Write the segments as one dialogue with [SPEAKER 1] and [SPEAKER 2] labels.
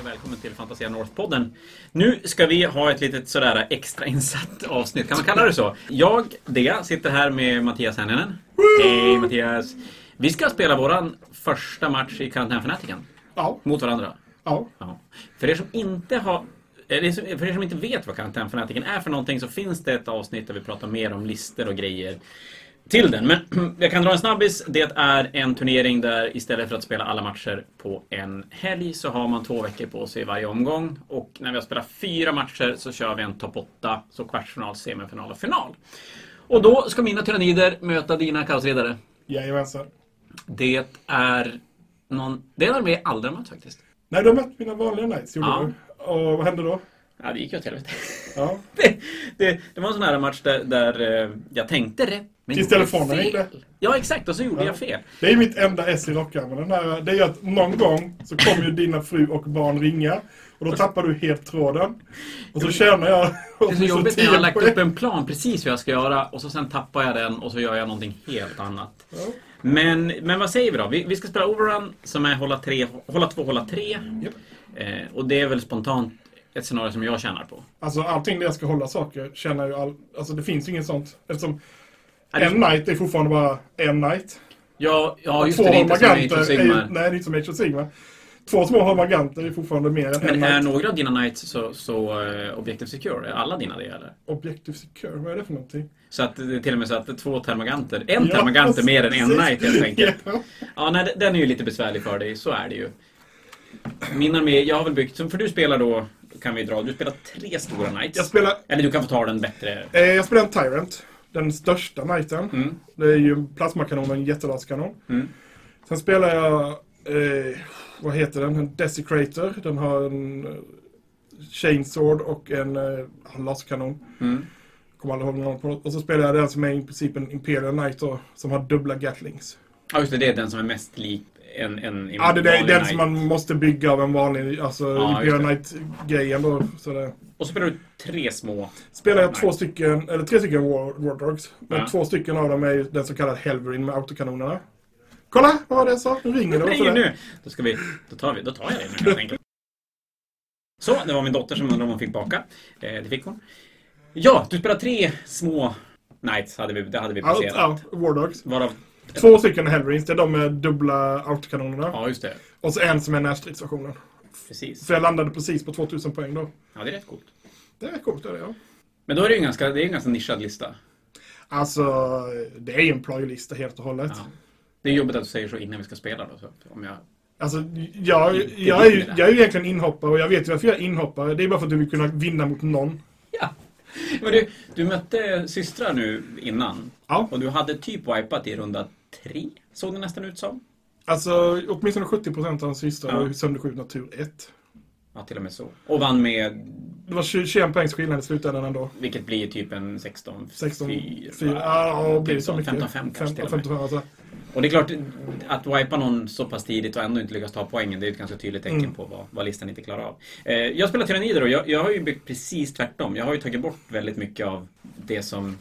[SPEAKER 1] och välkommen till Fantasia North-podden. Nu ska vi ha ett litet sådär extrainsatt avsnitt, kan man kalla det så? Jag, Dea, sitter här med Mattias Hänninen. Hej Mattias! Vi ska spela våran första match i Karantänfanatiken.
[SPEAKER 2] Ja,
[SPEAKER 1] Mot varandra.
[SPEAKER 2] ja.
[SPEAKER 1] Ja. För er som inte har eller som- för er som inte vet vad Karantänfanatiken är för någonting så finns det ett avsnitt där vi pratar mer om listor och grejer till den. Men jag kan dra en snabbis. Det är en turnering där istället för att spela alla matcher på en helg så har man två veckor på sig i varje omgång. Och när vi har spelat fyra matcher så kör vi en topp 8, så kvartsfinal, semifinal och final. Och då ska mina tyrannider möta dina kaosledare.
[SPEAKER 2] Jajamensan.
[SPEAKER 1] Det är någon... Det är en armé jag aldrig har mött faktiskt.
[SPEAKER 2] Nej, du har mött mina vanliga Knights, gjorde
[SPEAKER 1] Ja.
[SPEAKER 2] du. Och vad hände då?
[SPEAKER 1] Ja, det gick ju åt helvete.
[SPEAKER 2] Ja.
[SPEAKER 1] det, det, det var en sån här match där, där eh, jag tänkte rätt, men
[SPEAKER 2] Tills telefonen
[SPEAKER 1] fel.
[SPEAKER 2] ringde.
[SPEAKER 1] Ja, exakt. Och så gjorde
[SPEAKER 2] Ja.
[SPEAKER 1] jag fel.
[SPEAKER 2] Det är mitt enda S i rockärmen. Den här- Det är ju att någon gång så kommer ju dina fru och barn ringa. Och då tappar du helt tråden. Och så tjänar jag
[SPEAKER 1] Det är så jobbigt när jag har lagt
[SPEAKER 2] poäng.
[SPEAKER 1] upp en plan precis hur jag ska göra och så sen tappar jag den och så gör jag någonting helt annat.
[SPEAKER 2] Ja.
[SPEAKER 1] Men, men vad säger vi då? Vi, vi ska spela Overrun som är hålla, tre, hålla två, hålla tre.
[SPEAKER 2] Japp.
[SPEAKER 1] Eh, och det är väl spontant ett scenario som jag tjänar på.
[SPEAKER 2] Alltså allting där jag ska hålla saker känner ju all... Alltså det finns ju inget sånt. Eftersom
[SPEAKER 1] Ja, det-
[SPEAKER 2] en night är fortfarande bara en night.
[SPEAKER 1] Ja, ja just
[SPEAKER 2] Två
[SPEAKER 1] det. Det är inte som Age
[SPEAKER 2] Holmaganter
[SPEAKER 1] of
[SPEAKER 2] är ju... Nej,
[SPEAKER 1] Sigmar.
[SPEAKER 2] det är inte som Age of Sigmar. Två små Holmaganter är fortfarande mer än en
[SPEAKER 1] Men är
[SPEAKER 2] night.
[SPEAKER 1] några av dina nights så, så eh, Objective Secure? Är alla dina det eller?
[SPEAKER 2] Objective Secure, vad är det för någonting?
[SPEAKER 1] Så att det är till och med så att två termaganter, en
[SPEAKER 2] Ja,
[SPEAKER 1] termagant är mer än en
[SPEAKER 2] precis.
[SPEAKER 1] night helt enkelt.
[SPEAKER 2] Ja.
[SPEAKER 1] Ja, nej, den är ju lite besvärlig för dig, så är det ju. Min armé, jag har väl byggt, för du spelar då, kan vi dra, du spelar tre stora knights.
[SPEAKER 2] Jag spelar,
[SPEAKER 1] Eller du kan få ta den bättre.
[SPEAKER 2] eh, jag spelar en Tyrant, den största knighten.
[SPEAKER 1] Mm.
[SPEAKER 2] Det är ju plasmakanon och en jättelaskanon.
[SPEAKER 1] Mm.
[SPEAKER 2] Sen spelar jag, eh, vad heter den, en Desecrator. Den har en eh, Chainsword och en eh, laserkanon.
[SPEAKER 1] Mm.
[SPEAKER 2] Kommer aldrig ihåg någon på. Och så spelar jag den som är i princip en Imperial Knight då, som har dubbla Gatlings.
[SPEAKER 1] Ja, just det, det är den som är mest lik en, en
[SPEAKER 2] Ja, det, det är
[SPEAKER 1] vanlig
[SPEAKER 2] den
[SPEAKER 1] knight.
[SPEAKER 2] som man måste bygga av en vanlig, alltså
[SPEAKER 1] Ja, just
[SPEAKER 2] Imperial Knight-grejen då. Så det.
[SPEAKER 1] Och så spelar du tre små.
[SPEAKER 2] spelar jag
[SPEAKER 1] Nej.
[SPEAKER 2] två stycken, eller tre stycken War, War Dogs. Men
[SPEAKER 1] Ja.
[SPEAKER 2] två stycken av dem är ju den så kallade Helverin med autokanonerna. Kolla vad var det jag sa? Nu ringer det.
[SPEAKER 1] Nej,
[SPEAKER 2] varför det?
[SPEAKER 1] nu! Då ska vi, då tar vi, då tar jag det nu helt enkelt. Så, det var min dotter som undrade om hon fick baka. Eh, det fick hon. Ja, du spelar tre små knights, hade vi, det hade vi
[SPEAKER 2] Ja,
[SPEAKER 1] placerat.
[SPEAKER 2] ja, War Dogs.
[SPEAKER 1] Varav,
[SPEAKER 2] Två stycken Helverins, det är de med dubbla autokanonerna.
[SPEAKER 1] ja just det,
[SPEAKER 2] Och så en som är närstridsstationen.
[SPEAKER 1] precis.
[SPEAKER 2] Så jag landade precis på 2000 poäng då.
[SPEAKER 1] Ja, det är rätt coolt.
[SPEAKER 2] Det är coolt, det är det ja.
[SPEAKER 1] Men då är det ju en ganska, det är en ganska nischad lista.
[SPEAKER 2] Alltså, det är ju en plojlista helt och hållet.
[SPEAKER 1] Ja. Det är jobbigt att du säger så innan vi ska spela då. Så att om jag...
[SPEAKER 2] Alltså, jag,
[SPEAKER 1] Inte
[SPEAKER 2] jag, är ju,
[SPEAKER 1] vinner.
[SPEAKER 2] jag är ju egentligen inhoppare och jag vet ju varför jag är inhoppare. Det är bara för att du vill kunna vinna mot någon.
[SPEAKER 1] Ja. Men du, du mötte systrar nu innan.
[SPEAKER 2] Ja.
[SPEAKER 1] Och du hade typ wipat i runda tre, såg det nästan ut som.
[SPEAKER 2] Alltså, åtminstone 70% av hans systrar
[SPEAKER 1] Ja.
[SPEAKER 2] var ju sönderskjutna tur 1.
[SPEAKER 1] Ja, till och med så. Och vann med,
[SPEAKER 2] Det var 20 21 poängs skillnad i slutändan ändå.
[SPEAKER 1] vilket blir typ en 16,
[SPEAKER 2] 16,
[SPEAKER 1] 4,
[SPEAKER 2] 4, ja, Ah, det blir så mycket.
[SPEAKER 1] 15, 5 kanske till och med.
[SPEAKER 2] 15, alltså.
[SPEAKER 1] Och det är klart, att wipa någon så pass tidigt och ändå inte lyckas ta poängen, det är ett ganska tydligt tecken
[SPEAKER 2] Mm.
[SPEAKER 1] på vad, vad listan inte klarar av. Eh, jag spelar tyrannider och jag, jag har ju byggt precis tvärtom. Jag har ju tagit bort väldigt mycket av det som,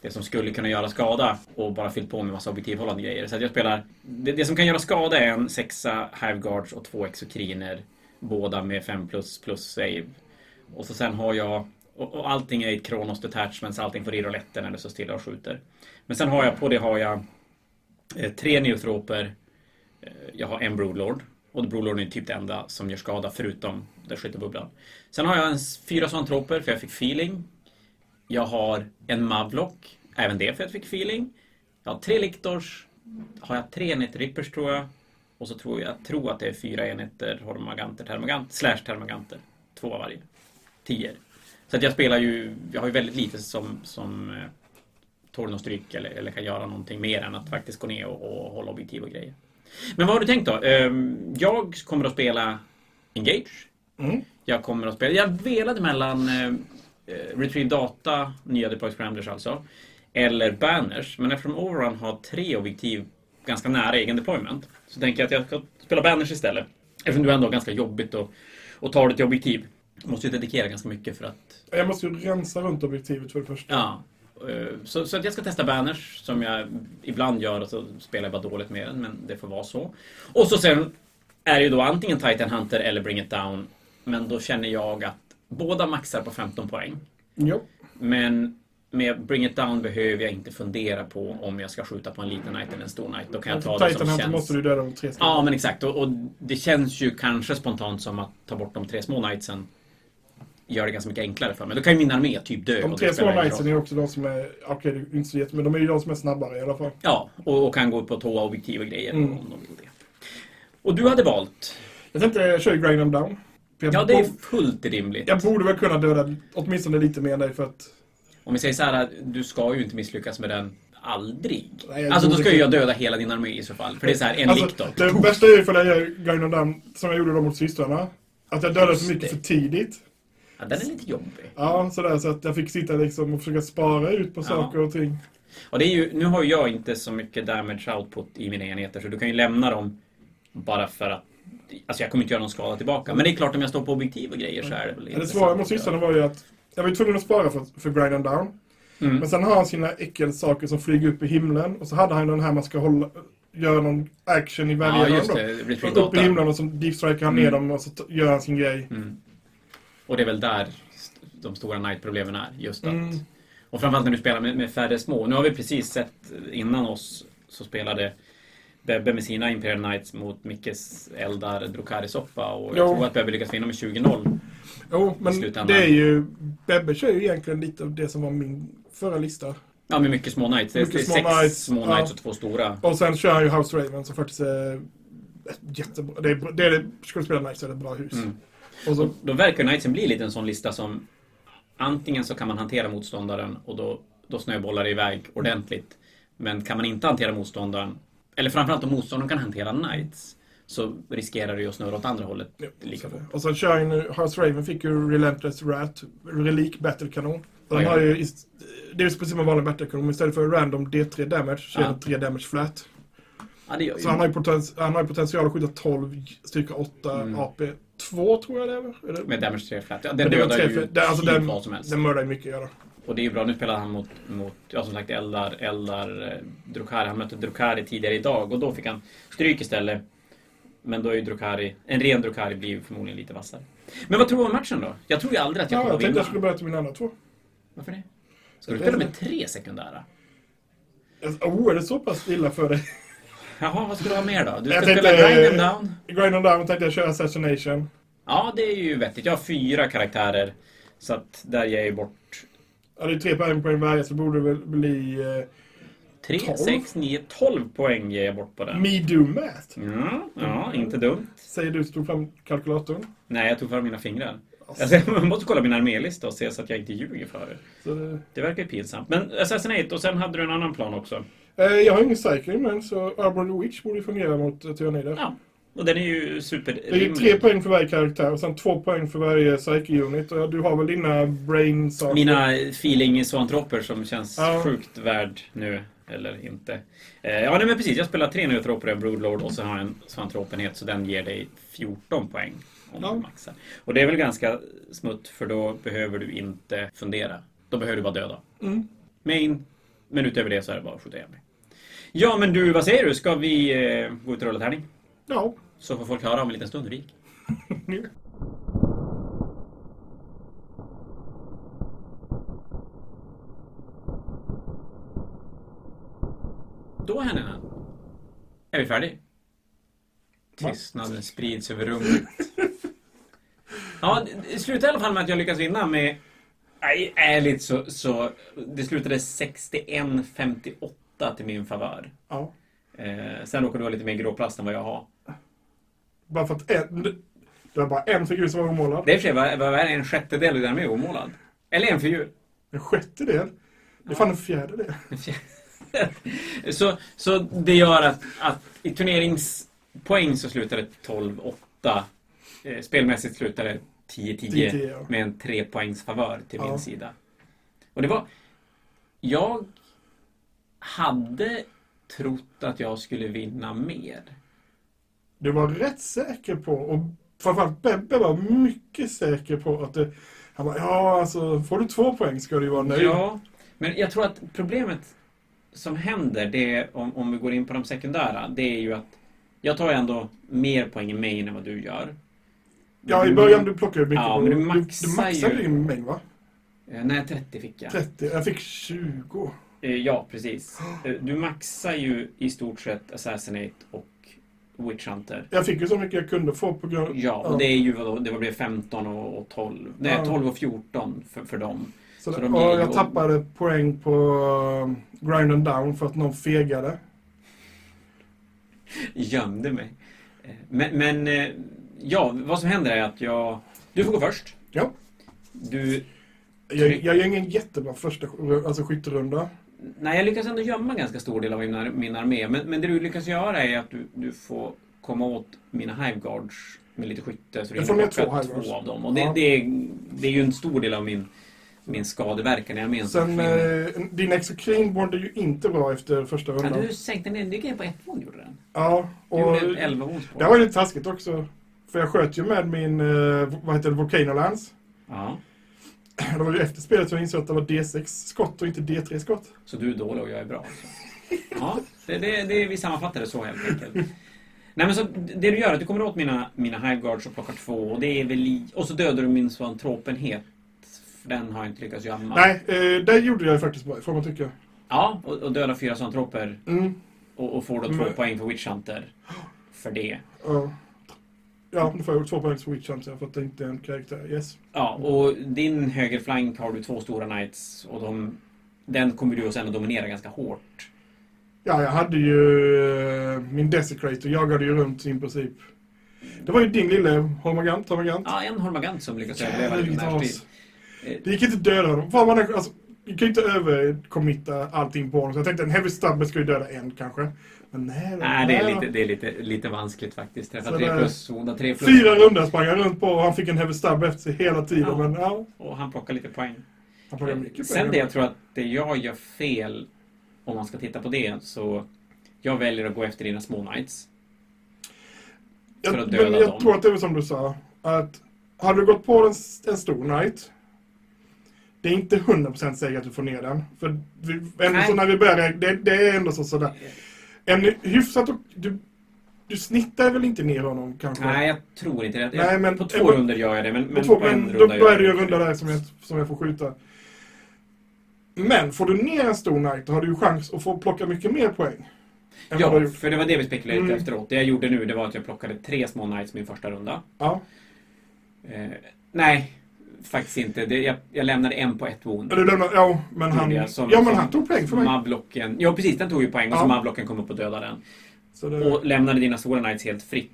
[SPEAKER 1] det som skulle kunna göra skada och bara fyllt på med massa objektivhållande grejer. Så att jag spelar, det, det som kan göra skada är en sexa hive guards och två exokriner. Båda med 5 plus plus save. Och så sen har jag och, och allting är i ett kronos detachment, så allting får i rouletten eller så stilla och skjuter. Men sen har jag, på det har jag eh, tre neotroper. Eh, jag har en broodlord. Och broodlorden är typ det enda som gör skada förutom den skyttebubblan. Sen har jag en, s- fyra zoantroper för jag fick feeling. Jag har en mavlock, även det för att jag fick feeling. Jag har tre liktors. Har jag tre enheter rippers tror jag. Och så tror jag, jag tror att det är fyra enheter hormaganter, termagant, slash termaganter. Två av varje. Tior. Så att jag spelar ju, jag har ju väldigt lite som, som eh, tål någon stryk eller, eller kan göra någonting mer än att faktiskt gå ner och, och hålla objektiv och grejer. Men vad har du tänkt då? Ehm, Jag kommer att spela Engage.
[SPEAKER 2] Mm.
[SPEAKER 1] Jag kommer att spela... Jag velade mellan eh, eh, Retrieve Data, nya Deploy Scramblers alltså, eller Banners. Men eftersom Overrun har tre objektiv ganska nära egen deployment så tänker jag att jag ska spela Banners istället. Eftersom du ändå har ganska jobbigt att, att ta det till objektiv. Du måste ju dedikera ganska mycket för att
[SPEAKER 2] Jag måste ju rensa runt objektivet för det första.
[SPEAKER 1] Ja. eh, Så, så att jag ska testa banners som jag ibland gör och så spelar jag bara dåligt med den, men det får vara så. Och så sen är det ju då antingen Titan Hunter eller Bring It Down Men då känner jag att båda maxar på 15 poäng.
[SPEAKER 2] Jo.
[SPEAKER 1] Men med Bring It Down behöver jag inte fundera på om jag ska skjuta på en liten knight eller en stor knight. Då kan jag
[SPEAKER 2] Alltså,
[SPEAKER 1] ta det som Ah,
[SPEAKER 2] Titanhunter
[SPEAKER 1] känns.
[SPEAKER 2] måste du döda med tre skott.
[SPEAKER 1] Ja, men exakt. Och, och det känns ju kanske spontant som att ta bort de tre små knightsen gör det ganska mycket enklare för mig. Då kan ju min armé typ dö. och
[SPEAKER 2] De
[SPEAKER 1] det
[SPEAKER 2] tre små
[SPEAKER 1] spelar ingen
[SPEAKER 2] knightsen
[SPEAKER 1] roll.
[SPEAKER 2] är också de som är, okej det är inte så jätte, men de är ju de som är snabbare i alla fall.
[SPEAKER 1] Ja, och, och kan gå upp på tå, objektiv och grejer
[SPEAKER 2] Mm.
[SPEAKER 1] om de vill det. Och du hade valt.
[SPEAKER 2] Jag tänkte köra grind them down. För jag
[SPEAKER 1] Ja, det är
[SPEAKER 2] bo-
[SPEAKER 1] fullt rimligt.
[SPEAKER 2] Jag borde väl kunna döda åtminstone lite mer än dig för att...
[SPEAKER 1] Om vi säger så här, du ska ju inte misslyckas med den. Aldrig.
[SPEAKER 2] Nej, jag
[SPEAKER 1] alltså då
[SPEAKER 2] borde
[SPEAKER 1] ska ju
[SPEAKER 2] kunna.
[SPEAKER 1] jag döda hela din armé i så fall. För det är så här, en
[SPEAKER 2] Alltså,
[SPEAKER 1] likt då.
[SPEAKER 2] det värsta är ju ifall jag gör grind them down som jag gjorde då mot systrarna. Att jag dödade
[SPEAKER 1] Just
[SPEAKER 2] för mycket
[SPEAKER 1] det.
[SPEAKER 2] för tidigt.
[SPEAKER 1] Ja, den är lite jobbig.
[SPEAKER 2] Ja, sådär så att jag fick sitta liksom och försöka spara ut på
[SPEAKER 1] Ja.
[SPEAKER 2] saker och ting.
[SPEAKER 1] Och det är ju, nu har ju jag inte så mycket damage output i mina enheter så du kan ju lämna dem bara för att... Alltså jag kommer inte göra någon skada tillbaka. Men det är klart om jag står på objektiv och grejer så är det väl
[SPEAKER 2] Men det
[SPEAKER 1] intressant
[SPEAKER 2] svåra
[SPEAKER 1] att
[SPEAKER 2] mot
[SPEAKER 1] göra.
[SPEAKER 2] systrarna var ju att jag var ju tvungen att spara för, för grind them down.
[SPEAKER 1] Mm.
[SPEAKER 2] Men sen har han sina äckelsaker som flyger upp i himlen och så hade han den här man ska hålla, göra någon action i varje
[SPEAKER 1] Ja,
[SPEAKER 2] runda
[SPEAKER 1] just
[SPEAKER 2] då.
[SPEAKER 1] det. Mm. Retreat
[SPEAKER 2] Och upp i
[SPEAKER 1] data.
[SPEAKER 2] himlen och så deepstriker han ner dem och så t- gör han sin grej.
[SPEAKER 1] Mm. Och det är väl där st- de stora night-problemen är. Just att,
[SPEAKER 2] Mm.
[SPEAKER 1] Och framförallt när du spelar med, med färre små. Nu har vi precis sett eh, innan oss så spelade Bebbe med sina Imperial Knights mot Mickes Eldar Drukari-soppa och jag
[SPEAKER 2] Jo.
[SPEAKER 1] tror att Bebbe lyckas vinna med 20-0.
[SPEAKER 2] Jo, men
[SPEAKER 1] slutändan.
[SPEAKER 2] det är ju... Bebbe kör ju egentligen lite av det som var min förra lista.
[SPEAKER 1] Ja, med mycket små knights. Det är,
[SPEAKER 2] Mycket
[SPEAKER 1] det är
[SPEAKER 2] små
[SPEAKER 1] sex
[SPEAKER 2] knights,
[SPEAKER 1] små
[SPEAKER 2] ja.
[SPEAKER 1] knights och två stora.
[SPEAKER 2] Och sen kör han ju House Raven som faktiskt är ett jättebra. Det är, bra- det är det, skulle du spela nice så är det ett bra hus.
[SPEAKER 1] Mm.
[SPEAKER 2] Och så,
[SPEAKER 1] Då verkar knightsen bli lite en sån lista som antingen så kan man hantera motståndaren och då, då snöbollar det iväg ordentligt. Men kan man inte hantera motståndaren, eller framförallt om motståndaren kan hantera knights, så riskerar det ju att snurra åt andra hållet
[SPEAKER 2] ja,
[SPEAKER 1] lika
[SPEAKER 2] så
[SPEAKER 1] fort.
[SPEAKER 2] det. och sen kör han ju... House Raven fick ju Relentless Rat, Relik Battlekanon. Och
[SPEAKER 1] Oj,
[SPEAKER 2] den
[SPEAKER 1] ja.
[SPEAKER 2] har ju... ist- Det är ju precis som en vanlig Battlekanon. Istället för random D3 damage så
[SPEAKER 1] Ja. Mm.
[SPEAKER 2] är det 3 damage flat.
[SPEAKER 1] Ja, det gör ju.
[SPEAKER 2] Så han har ju, poten- han har ju potential att skjuta 12 stycken 8
[SPEAKER 1] Mm.
[SPEAKER 2] AP. 2 tror jag det är. Eller?
[SPEAKER 1] Med damage 3 flat. Ja,
[SPEAKER 2] Men
[SPEAKER 1] den
[SPEAKER 2] det var
[SPEAKER 1] dödar
[SPEAKER 2] tre,
[SPEAKER 1] ju
[SPEAKER 2] för- det- alltså
[SPEAKER 1] typ
[SPEAKER 2] den-
[SPEAKER 1] vad som helst.
[SPEAKER 2] Den mördar ju mycket gör det.
[SPEAKER 1] Och det är ju bra. Nu spelar han mot, mot ja, som sagt, Eldar, Eldar eh, Drukari. Han mötte Drukari tidigare idag och då fick han stryk istället. Men då är ju Drukari, en ren Drukari blir ju förmodligen lite vassare. Men vad tror du om matchen då? Jag tror ju aldrig att jag
[SPEAKER 2] Ja,
[SPEAKER 1] kommer
[SPEAKER 2] jag
[SPEAKER 1] att
[SPEAKER 2] tänkte
[SPEAKER 1] vinna.
[SPEAKER 2] jag skulle börja till mina andra två.
[SPEAKER 1] Varför det? Ska du spela med tre sekundära?
[SPEAKER 2] Alltså, Oh, är det så pass illa för dig?
[SPEAKER 1] Jaha, vad ska du ha mer då? Du ska
[SPEAKER 2] Jag
[SPEAKER 1] spela
[SPEAKER 2] tänkte-
[SPEAKER 1] Grind Them Down?
[SPEAKER 2] Grind on down tänkte jag köra assassination.
[SPEAKER 1] Ja, det är ju vettigt. Jag har fyra karaktärer. Så att där ger jag ju bort
[SPEAKER 2] Ja, det är tre poäng på en varje så borde det väl bli eh,
[SPEAKER 1] tre,
[SPEAKER 2] Tolv?
[SPEAKER 1] sex, nio, tolv poäng ger jag bort på den.
[SPEAKER 2] me do math.
[SPEAKER 1] Ja, ja, inte dumt.
[SPEAKER 2] Säger du som tog fram kalkylatorn.
[SPEAKER 1] Nej, jag tog fram mina fingrar. Alltså, jag måste kolla min armélista och se så att jag inte ljuger för er.
[SPEAKER 2] Så, det-
[SPEAKER 1] Det verkar ju pinsamt. Men Assassinate, och sen hade du en annan plan också.
[SPEAKER 2] eh, jag har ingen cycling men så Arbor the Witch borde ju fungera mot eh, tyrannider.
[SPEAKER 1] Ja, och den är ju
[SPEAKER 2] Det är ju
[SPEAKER 1] superrimlig.
[SPEAKER 2] tre poäng för varje karaktär och sen två poäng för varje psyche-unit. Och du har väl dina brain saker?
[SPEAKER 1] Mina feeling zoantropper som känns
[SPEAKER 2] Ja.
[SPEAKER 1] sjukt värd nu, eller inte. Eh, Ja, nej, men precis. Jag spelar tre neutroper, en broodlord och sen har jag en zoantropenhet så den ger dig 14 poäng. Om
[SPEAKER 2] Ja.
[SPEAKER 1] du maxar. Och det är väl ganska smutt för då behöver du inte fundera. Då behöver du bara döda.
[SPEAKER 2] Mm.
[SPEAKER 1] Main, men utöver det så är det bara att skjuta ihjäl mig. Ja, men du, vad säger du? Ska vi eh, gå ut och rulla tärning?
[SPEAKER 2] Ja.
[SPEAKER 1] Så får folk höra om en liten stund hur det gick. Då, Helena, är vi färdiga. Tystnaden sprids över rummet. Ja, det slutade i alla fall med att jag lyckas vinna med... Nej, ärligt så... så det slutade 61-58 till min favör.
[SPEAKER 2] ja.
[SPEAKER 1] Eh, sen råkade du ha lite mer gråplast än vad jag har.
[SPEAKER 2] Bara för att en... Det var bara en figur som var omålad.
[SPEAKER 1] Det är i och för sig, vad, vad är en sjättedel av den med omålad? Eller en figur.
[SPEAKER 2] En sjättedel. Det är fan en fjärdedel.
[SPEAKER 1] Så, så det gör att, att i turneringspoäng så slutar det 12-8. Eh, Spelmässigt slutar det 10-10
[SPEAKER 2] 10-10, ja.
[SPEAKER 1] med en trepoängsfavör till
[SPEAKER 2] Ja.
[SPEAKER 1] min sida. Och det var... Jag hade trott att jag skulle vinna mer.
[SPEAKER 2] Du var rätt säker på, och framförallt Bebbe var mycket säker på att det... Han bara, ja alltså, får du två poäng ska du ju vara nöjd.
[SPEAKER 1] Ja, men jag tror att problemet som händer, det är, om, om vi går in på de sekundära, det är ju att jag tar ju ändå mer poäng i main än vad du gör.
[SPEAKER 2] Ja, i början du plockade ju mycket.
[SPEAKER 1] Ja,
[SPEAKER 2] på-
[SPEAKER 1] men du
[SPEAKER 2] du,
[SPEAKER 1] maxar
[SPEAKER 2] du maxade
[SPEAKER 1] ju.
[SPEAKER 2] din mängd va?
[SPEAKER 1] Eh, Nej, 30 fick jag.
[SPEAKER 2] 30. Jag fick 20.
[SPEAKER 1] Eh, Ja, precis. Eh, Du maxar ju i stort sett Assassinate och Witch Hunter.
[SPEAKER 2] Jag fick ju så mycket jag kunde få på grund
[SPEAKER 1] Ja, och det är ju vadå, det blev 15 och och 12. Nej,
[SPEAKER 2] Ja.
[SPEAKER 1] 12 och 14 för, för dem.
[SPEAKER 2] Så
[SPEAKER 1] Så
[SPEAKER 2] det,
[SPEAKER 1] de
[SPEAKER 2] och
[SPEAKER 1] ger ju-
[SPEAKER 2] jag tappade poäng på um, grind and down för att någon fegade.
[SPEAKER 1] Gömde mig. Eh, Men, men eh, ja, vad som händer är att jag... Du får gå först.
[SPEAKER 2] Ja.
[SPEAKER 1] Du...
[SPEAKER 2] Jag, jag gör ingen jättebra första alltså, skytterunda.
[SPEAKER 1] Nej, jag lyckas ändå gömma en ganska stor del av min, ar- min armé. Men, men det du lyckas göra är att du, du får komma åt mina hiveguards med lite skytte. Så det
[SPEAKER 2] Jag
[SPEAKER 1] är
[SPEAKER 2] får med
[SPEAKER 1] plocka
[SPEAKER 2] två Hive Guards.
[SPEAKER 1] av dem. Och det,
[SPEAKER 2] Ja.
[SPEAKER 1] det, är, det är ju en stor del av min, min skadeverkan i armén. som
[SPEAKER 2] Sen,
[SPEAKER 1] försvinner.
[SPEAKER 2] eh, din exocrine mådde ju inte bra efter första
[SPEAKER 1] Ja,
[SPEAKER 2] rundan.
[SPEAKER 1] du sänkte ner nynningen på ett mål, gjorde den.
[SPEAKER 2] Ja,
[SPEAKER 1] Du
[SPEAKER 2] och
[SPEAKER 1] gjorde 11 ons på
[SPEAKER 2] det
[SPEAKER 1] den.
[SPEAKER 2] var lite taskigt också. För jag sköt ju med min, eh, vad heter det, Volcano Lance.
[SPEAKER 1] Ja.
[SPEAKER 2] Det var ju efter spelet som jag insåg att det var D6 skott och inte D3 skott.
[SPEAKER 1] Så du är dålig och jag är bra. alltså. Ja, det, det, det, vi sammanfattar det så helt enkelt. Nej, men så, det du gör är att du kommer åt mina, mina hiveguards och plockar två och, det är väl i, och så dödar du min zoantropenhet. För den har jag inte lyckats gömma.
[SPEAKER 2] Nej, eh, det gjorde jag ju faktiskt bra får man tycka.
[SPEAKER 1] Ja, och, och dödar fyra zoantroper
[SPEAKER 2] Mm,
[SPEAKER 1] och, och får då två
[SPEAKER 2] Men-
[SPEAKER 1] poäng för Witch Hunter. För det.
[SPEAKER 2] ja. Ja, nu får jag två poäng för Witch Hunter för att det inte är en karaktär. Yes.
[SPEAKER 1] Ja, och din högerflank har du två stora knights och de, den kommer du sen att dominera ganska hårt.
[SPEAKER 2] Ja, jag hade ju eh, min Desecrator, jagade ju runt i princip. Det var ju din lille Holmagant, Holmagant.
[SPEAKER 1] Ja, en Holmagant som lyckas överleva
[SPEAKER 2] Jävlar,
[SPEAKER 1] din
[SPEAKER 2] vilket
[SPEAKER 1] närstrid.
[SPEAKER 2] as. Det gick inte att döda honom. Fan, man, är- alltså, du kan ju inte överkommitta allting på honom. Så jag tänkte en heavy stabber ska ju döda en kanske. Men nej.
[SPEAKER 1] Nej, det är
[SPEAKER 2] nej.
[SPEAKER 1] lite, det är lite, lite vanskligt faktiskt. Träffa
[SPEAKER 2] Så
[SPEAKER 1] tre
[SPEAKER 2] där-
[SPEAKER 1] plus, zona tre plus.
[SPEAKER 2] Fyra rundor sprang jag runt på och han fick en heavy stab efter sig hela tiden.
[SPEAKER 1] Ja.
[SPEAKER 2] Men ja,
[SPEAKER 1] Och han plockar lite poäng.
[SPEAKER 2] han plockade mycket
[SPEAKER 1] Sen det
[SPEAKER 2] pengar.
[SPEAKER 1] jag tror att det jag gör fel, om man ska titta på det, så jag väljer att gå efter dina små knights.
[SPEAKER 2] Jag,
[SPEAKER 1] för att
[SPEAKER 2] men
[SPEAKER 1] döda
[SPEAKER 2] jag
[SPEAKER 1] dem.
[SPEAKER 2] tror att det är som du sa. Att hade du gått på en, en stor knight. Det är inte 100% säkert att du får ner den. För vi, ändå
[SPEAKER 1] Nej.
[SPEAKER 2] så när vi börjar, det, det är ändå så sådär. En hyfsat, och- du, du snittar väl inte ner honom kanske?
[SPEAKER 1] Nej, jag tror inte det.
[SPEAKER 2] Nej, men-
[SPEAKER 1] på två
[SPEAKER 2] men-
[SPEAKER 1] runder gör jag det, men, men
[SPEAKER 2] Men, två,
[SPEAKER 1] på en
[SPEAKER 2] men då,
[SPEAKER 1] runda
[SPEAKER 2] då är det ju en
[SPEAKER 1] jag
[SPEAKER 2] runda
[SPEAKER 1] inte
[SPEAKER 2] där som jag, som jag får skjuta. Men får du ner en stor knight då har du ju chans att få plocka mycket mer poäng. Än vad du har
[SPEAKER 1] Ja,
[SPEAKER 2] gjort.
[SPEAKER 1] för det var det vi spekulerade
[SPEAKER 2] Mm.
[SPEAKER 1] efteråt. Det jag gjorde nu det var att jag plockade tre små knights min första runda.
[SPEAKER 2] Ja.
[SPEAKER 1] Eh, nej, faktiskt inte. Det, jag, jag lämnade en på ett wound.
[SPEAKER 2] Eller lämnar, ja, men han,
[SPEAKER 1] Gjorde jag som-
[SPEAKER 2] ja, men
[SPEAKER 1] som
[SPEAKER 2] han tog poäng för mig.
[SPEAKER 1] Mablocken, ja precis, den tog ju poäng och så
[SPEAKER 2] Ja.
[SPEAKER 1] Mablocken kom upp och dödade den.
[SPEAKER 2] Så det,
[SPEAKER 1] Och lämnade dina Sora Knights helt fritt.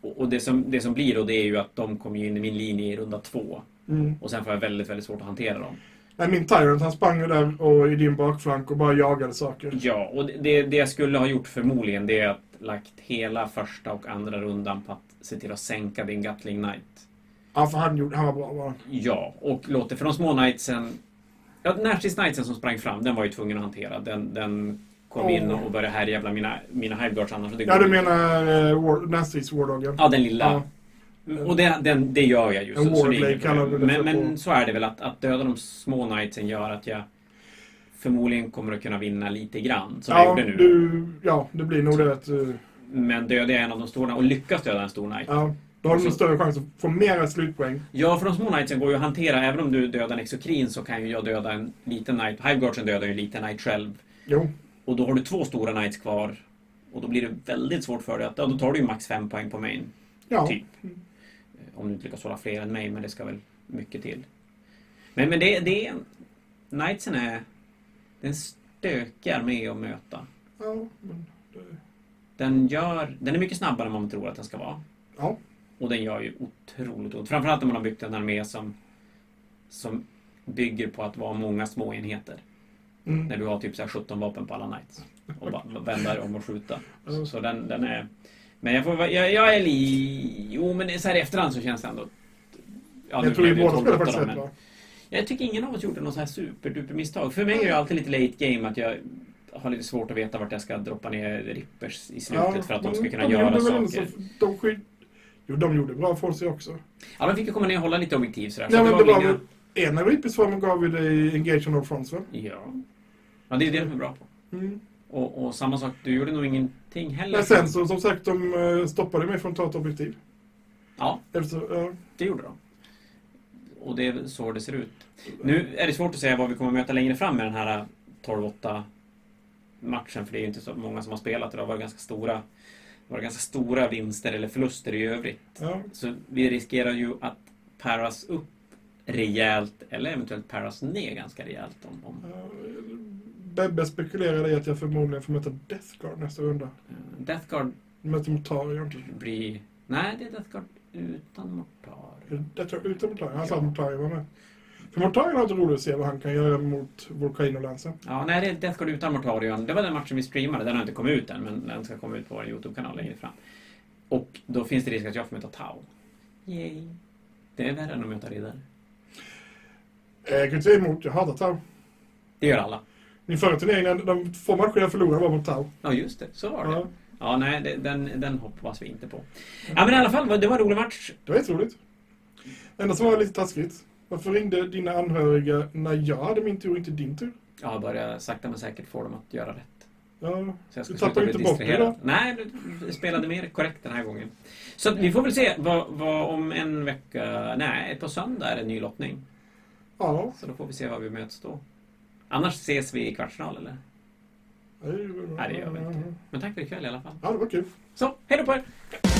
[SPEAKER 1] Och, och det, som, det som blir då det är ju att de kommer ju in i min linje i runda två.
[SPEAKER 2] mm.
[SPEAKER 1] Och sen får jag väldigt, väldigt svårt att hantera dem.
[SPEAKER 2] Nej, min Tyrant han sprang ju där och i din bakflank och bara jagade saker.
[SPEAKER 1] Ja, och det- det, det jag skulle ha gjort förmodligen det är att lagt hela första och andra rundan på att se till att sänka din Gatling Knight.
[SPEAKER 2] Ja, för han, gjorde, han var bra bara.
[SPEAKER 1] Ja, och låter för de små Knightsen... Ja, Närstridsknightsen som sprang fram, den var ju tvungen att hantera. Den, den kom in
[SPEAKER 2] Åh.
[SPEAKER 1] och började härjävla mina, mina Hiveguards annars. och det
[SPEAKER 2] Ja,
[SPEAKER 1] går
[SPEAKER 2] du
[SPEAKER 1] inte.
[SPEAKER 2] menar eh, War- Nasty's Wardogen?
[SPEAKER 1] Ja, den lilla.
[SPEAKER 2] Ja.
[SPEAKER 1] Och det, den, det gör jag ju.
[SPEAKER 2] En
[SPEAKER 1] Så, så det är
[SPEAKER 2] warblade
[SPEAKER 1] inget
[SPEAKER 2] kallar vi
[SPEAKER 1] problem.
[SPEAKER 2] det
[SPEAKER 1] men,
[SPEAKER 2] för
[SPEAKER 1] men
[SPEAKER 2] på-
[SPEAKER 1] så är det väl att, att döda de små knightsen gör att jag förmodligen kommer att kunna vinna lite grann, som jag
[SPEAKER 2] Ja,
[SPEAKER 1] gjorde nu.
[SPEAKER 2] du, ja, det blir nog det att... eh,
[SPEAKER 1] Men dödar jag en av de stora och lyckas döda en stor knight. Ja.
[SPEAKER 2] Ja, då har du en
[SPEAKER 1] Så-
[SPEAKER 2] större chans att få mera slutpoäng.
[SPEAKER 1] för de små knightsen går ju att hantera. Även om du dödar en exokrin så kan ju jag döda en liten knight. Hiveguardsen dödar ju en liten knight själv.
[SPEAKER 2] Jo.
[SPEAKER 1] Och då har du två stora knights kvar. Och då blir det väldigt svårt för dig att... Ja, då tar du ju max fem poäng på main.
[SPEAKER 2] Ja.
[SPEAKER 1] Typ. Om du inte lyckas hålla fler än mig, men det ska väl mycket till. Men, men det, det är... Knightsen är... Den stökar med att möta.
[SPEAKER 2] Ja, men eh, mm. det,
[SPEAKER 1] Den, gör, den är mycket snabbare än vad man tror att den ska vara.
[SPEAKER 2] ja.
[SPEAKER 1] Och den gör ju otroligt ont. Framförallt när man har byggt en armé som, som bygger på att vara många små enheter. När
[SPEAKER 2] Mm.
[SPEAKER 1] du har typ så här 17 vapen på alla knights. Och bara vända om och skjuta. Så, så den, den är... Men jag får vara- jag, jag är li... Jo, men så här i efterhand så känns det ändå... Ja, nu
[SPEAKER 2] jag tror vi
[SPEAKER 1] blev det ju
[SPEAKER 2] båda spelar
[SPEAKER 1] 12-8 då,
[SPEAKER 2] faktiskt rätt
[SPEAKER 1] men-
[SPEAKER 2] bra.
[SPEAKER 1] Jag tycker ingen av oss gjorde något så här superduper misstag. För mig är det ju alltid lite late game att jag har lite svårt att veta vart jag ska droppa ner rippers i slutet för att de
[SPEAKER 2] men
[SPEAKER 1] ska kunna
[SPEAKER 2] Mm, de
[SPEAKER 1] göra
[SPEAKER 2] gjorde väl ändå
[SPEAKER 1] saker.
[SPEAKER 2] Så, de skyd... Jo, de gjorde bra ifrån sig också.
[SPEAKER 1] Ja, de fick ju komma ner och hålla lite objektiv sådär.
[SPEAKER 2] Nej,
[SPEAKER 1] så
[SPEAKER 2] men det var
[SPEAKER 1] väl
[SPEAKER 2] väl... En av Reapers-formen gav ju dig Engage on All Fronts, va?
[SPEAKER 1] inga... Ja. Ja, det är det de är bra på.
[SPEAKER 2] Mm.
[SPEAKER 1] Och, och samma sak, du gjorde nog ingenting heller.
[SPEAKER 2] Men sen så, som sagt, de eh, stoppade mig från att ta ett objektiv.
[SPEAKER 1] Ja,
[SPEAKER 2] Eller så, ja.
[SPEAKER 1] det gjorde de. Och det är så det ser ut. Nu är det svårt att säga vad vi kommer möta längre fram med den här 12-8 matchen. För det är ju inte så många som har spelat och det har varit ganska stora, varit ganska stora vinster eller förluster i övrigt.
[SPEAKER 2] ja.
[SPEAKER 1] Så vi riskerar ju att paras upp rejält eller eventuellt paras ner ganska rejält. Om, om.
[SPEAKER 2] ja. Bebbe spekulerade i att jag förmodligen får möta Death Guard nästa runda.
[SPEAKER 1] eh, Death Guard
[SPEAKER 2] Möter Mortarion.
[SPEAKER 1] blir... Nej, det är Death Guard utan Mortar.
[SPEAKER 2] Jag tror utan Mortarion. Han sa att Mortarion var med. För Mortarion har varit roligt att se vad han kan göra mot Volcanolansen.
[SPEAKER 1] Ja, nej, det är Death Guard utan Mortarion. Det var den matchen vi streamade. Den har inte kommit ut än, men den ska komma ut på vår YouTube-kanal längre fram. Och då finns det risk att jag får möta Tau. Yay. Det är värre än att möta Riddare.
[SPEAKER 2] Eh, Jag kan inte säga emot, jag hatar Tau.
[SPEAKER 1] Det gör alla.
[SPEAKER 2] Min förra turnering, när de få matcher jag förlorade var mot Tau.
[SPEAKER 1] Ja, just det. Så var det.
[SPEAKER 2] Ja,
[SPEAKER 1] Ja, nej, det, den, den hoppas vi inte på. Ja, men i alla fall, det var en rolig match.
[SPEAKER 2] det var jätteroligt. Det enda som var lite taskigt. Varför ringde dina anhöriga när jag hade min tur, inte din tur?
[SPEAKER 1] Jag har börjat sakta men säkert få dem att göra rätt.
[SPEAKER 2] Ja,
[SPEAKER 1] Så jag ska
[SPEAKER 2] Du
[SPEAKER 1] sluta
[SPEAKER 2] tappar
[SPEAKER 1] bli
[SPEAKER 2] inte bort det
[SPEAKER 1] distraherad. Nej, du spelade mer korrekt den här gången. Så att vi får väl se vad, vad om en vecka... Nej, på söndag är det en ny lottning.
[SPEAKER 2] ja.
[SPEAKER 1] Så då får vi se vad vi möts då. Annars ses vi i kvartsfinal, eller?
[SPEAKER 2] Nej,
[SPEAKER 1] Nej, det gör vi inte. Men tack för ikväll i alla fall.
[SPEAKER 2] Ja, det var kul.
[SPEAKER 1] Så, hej då på er!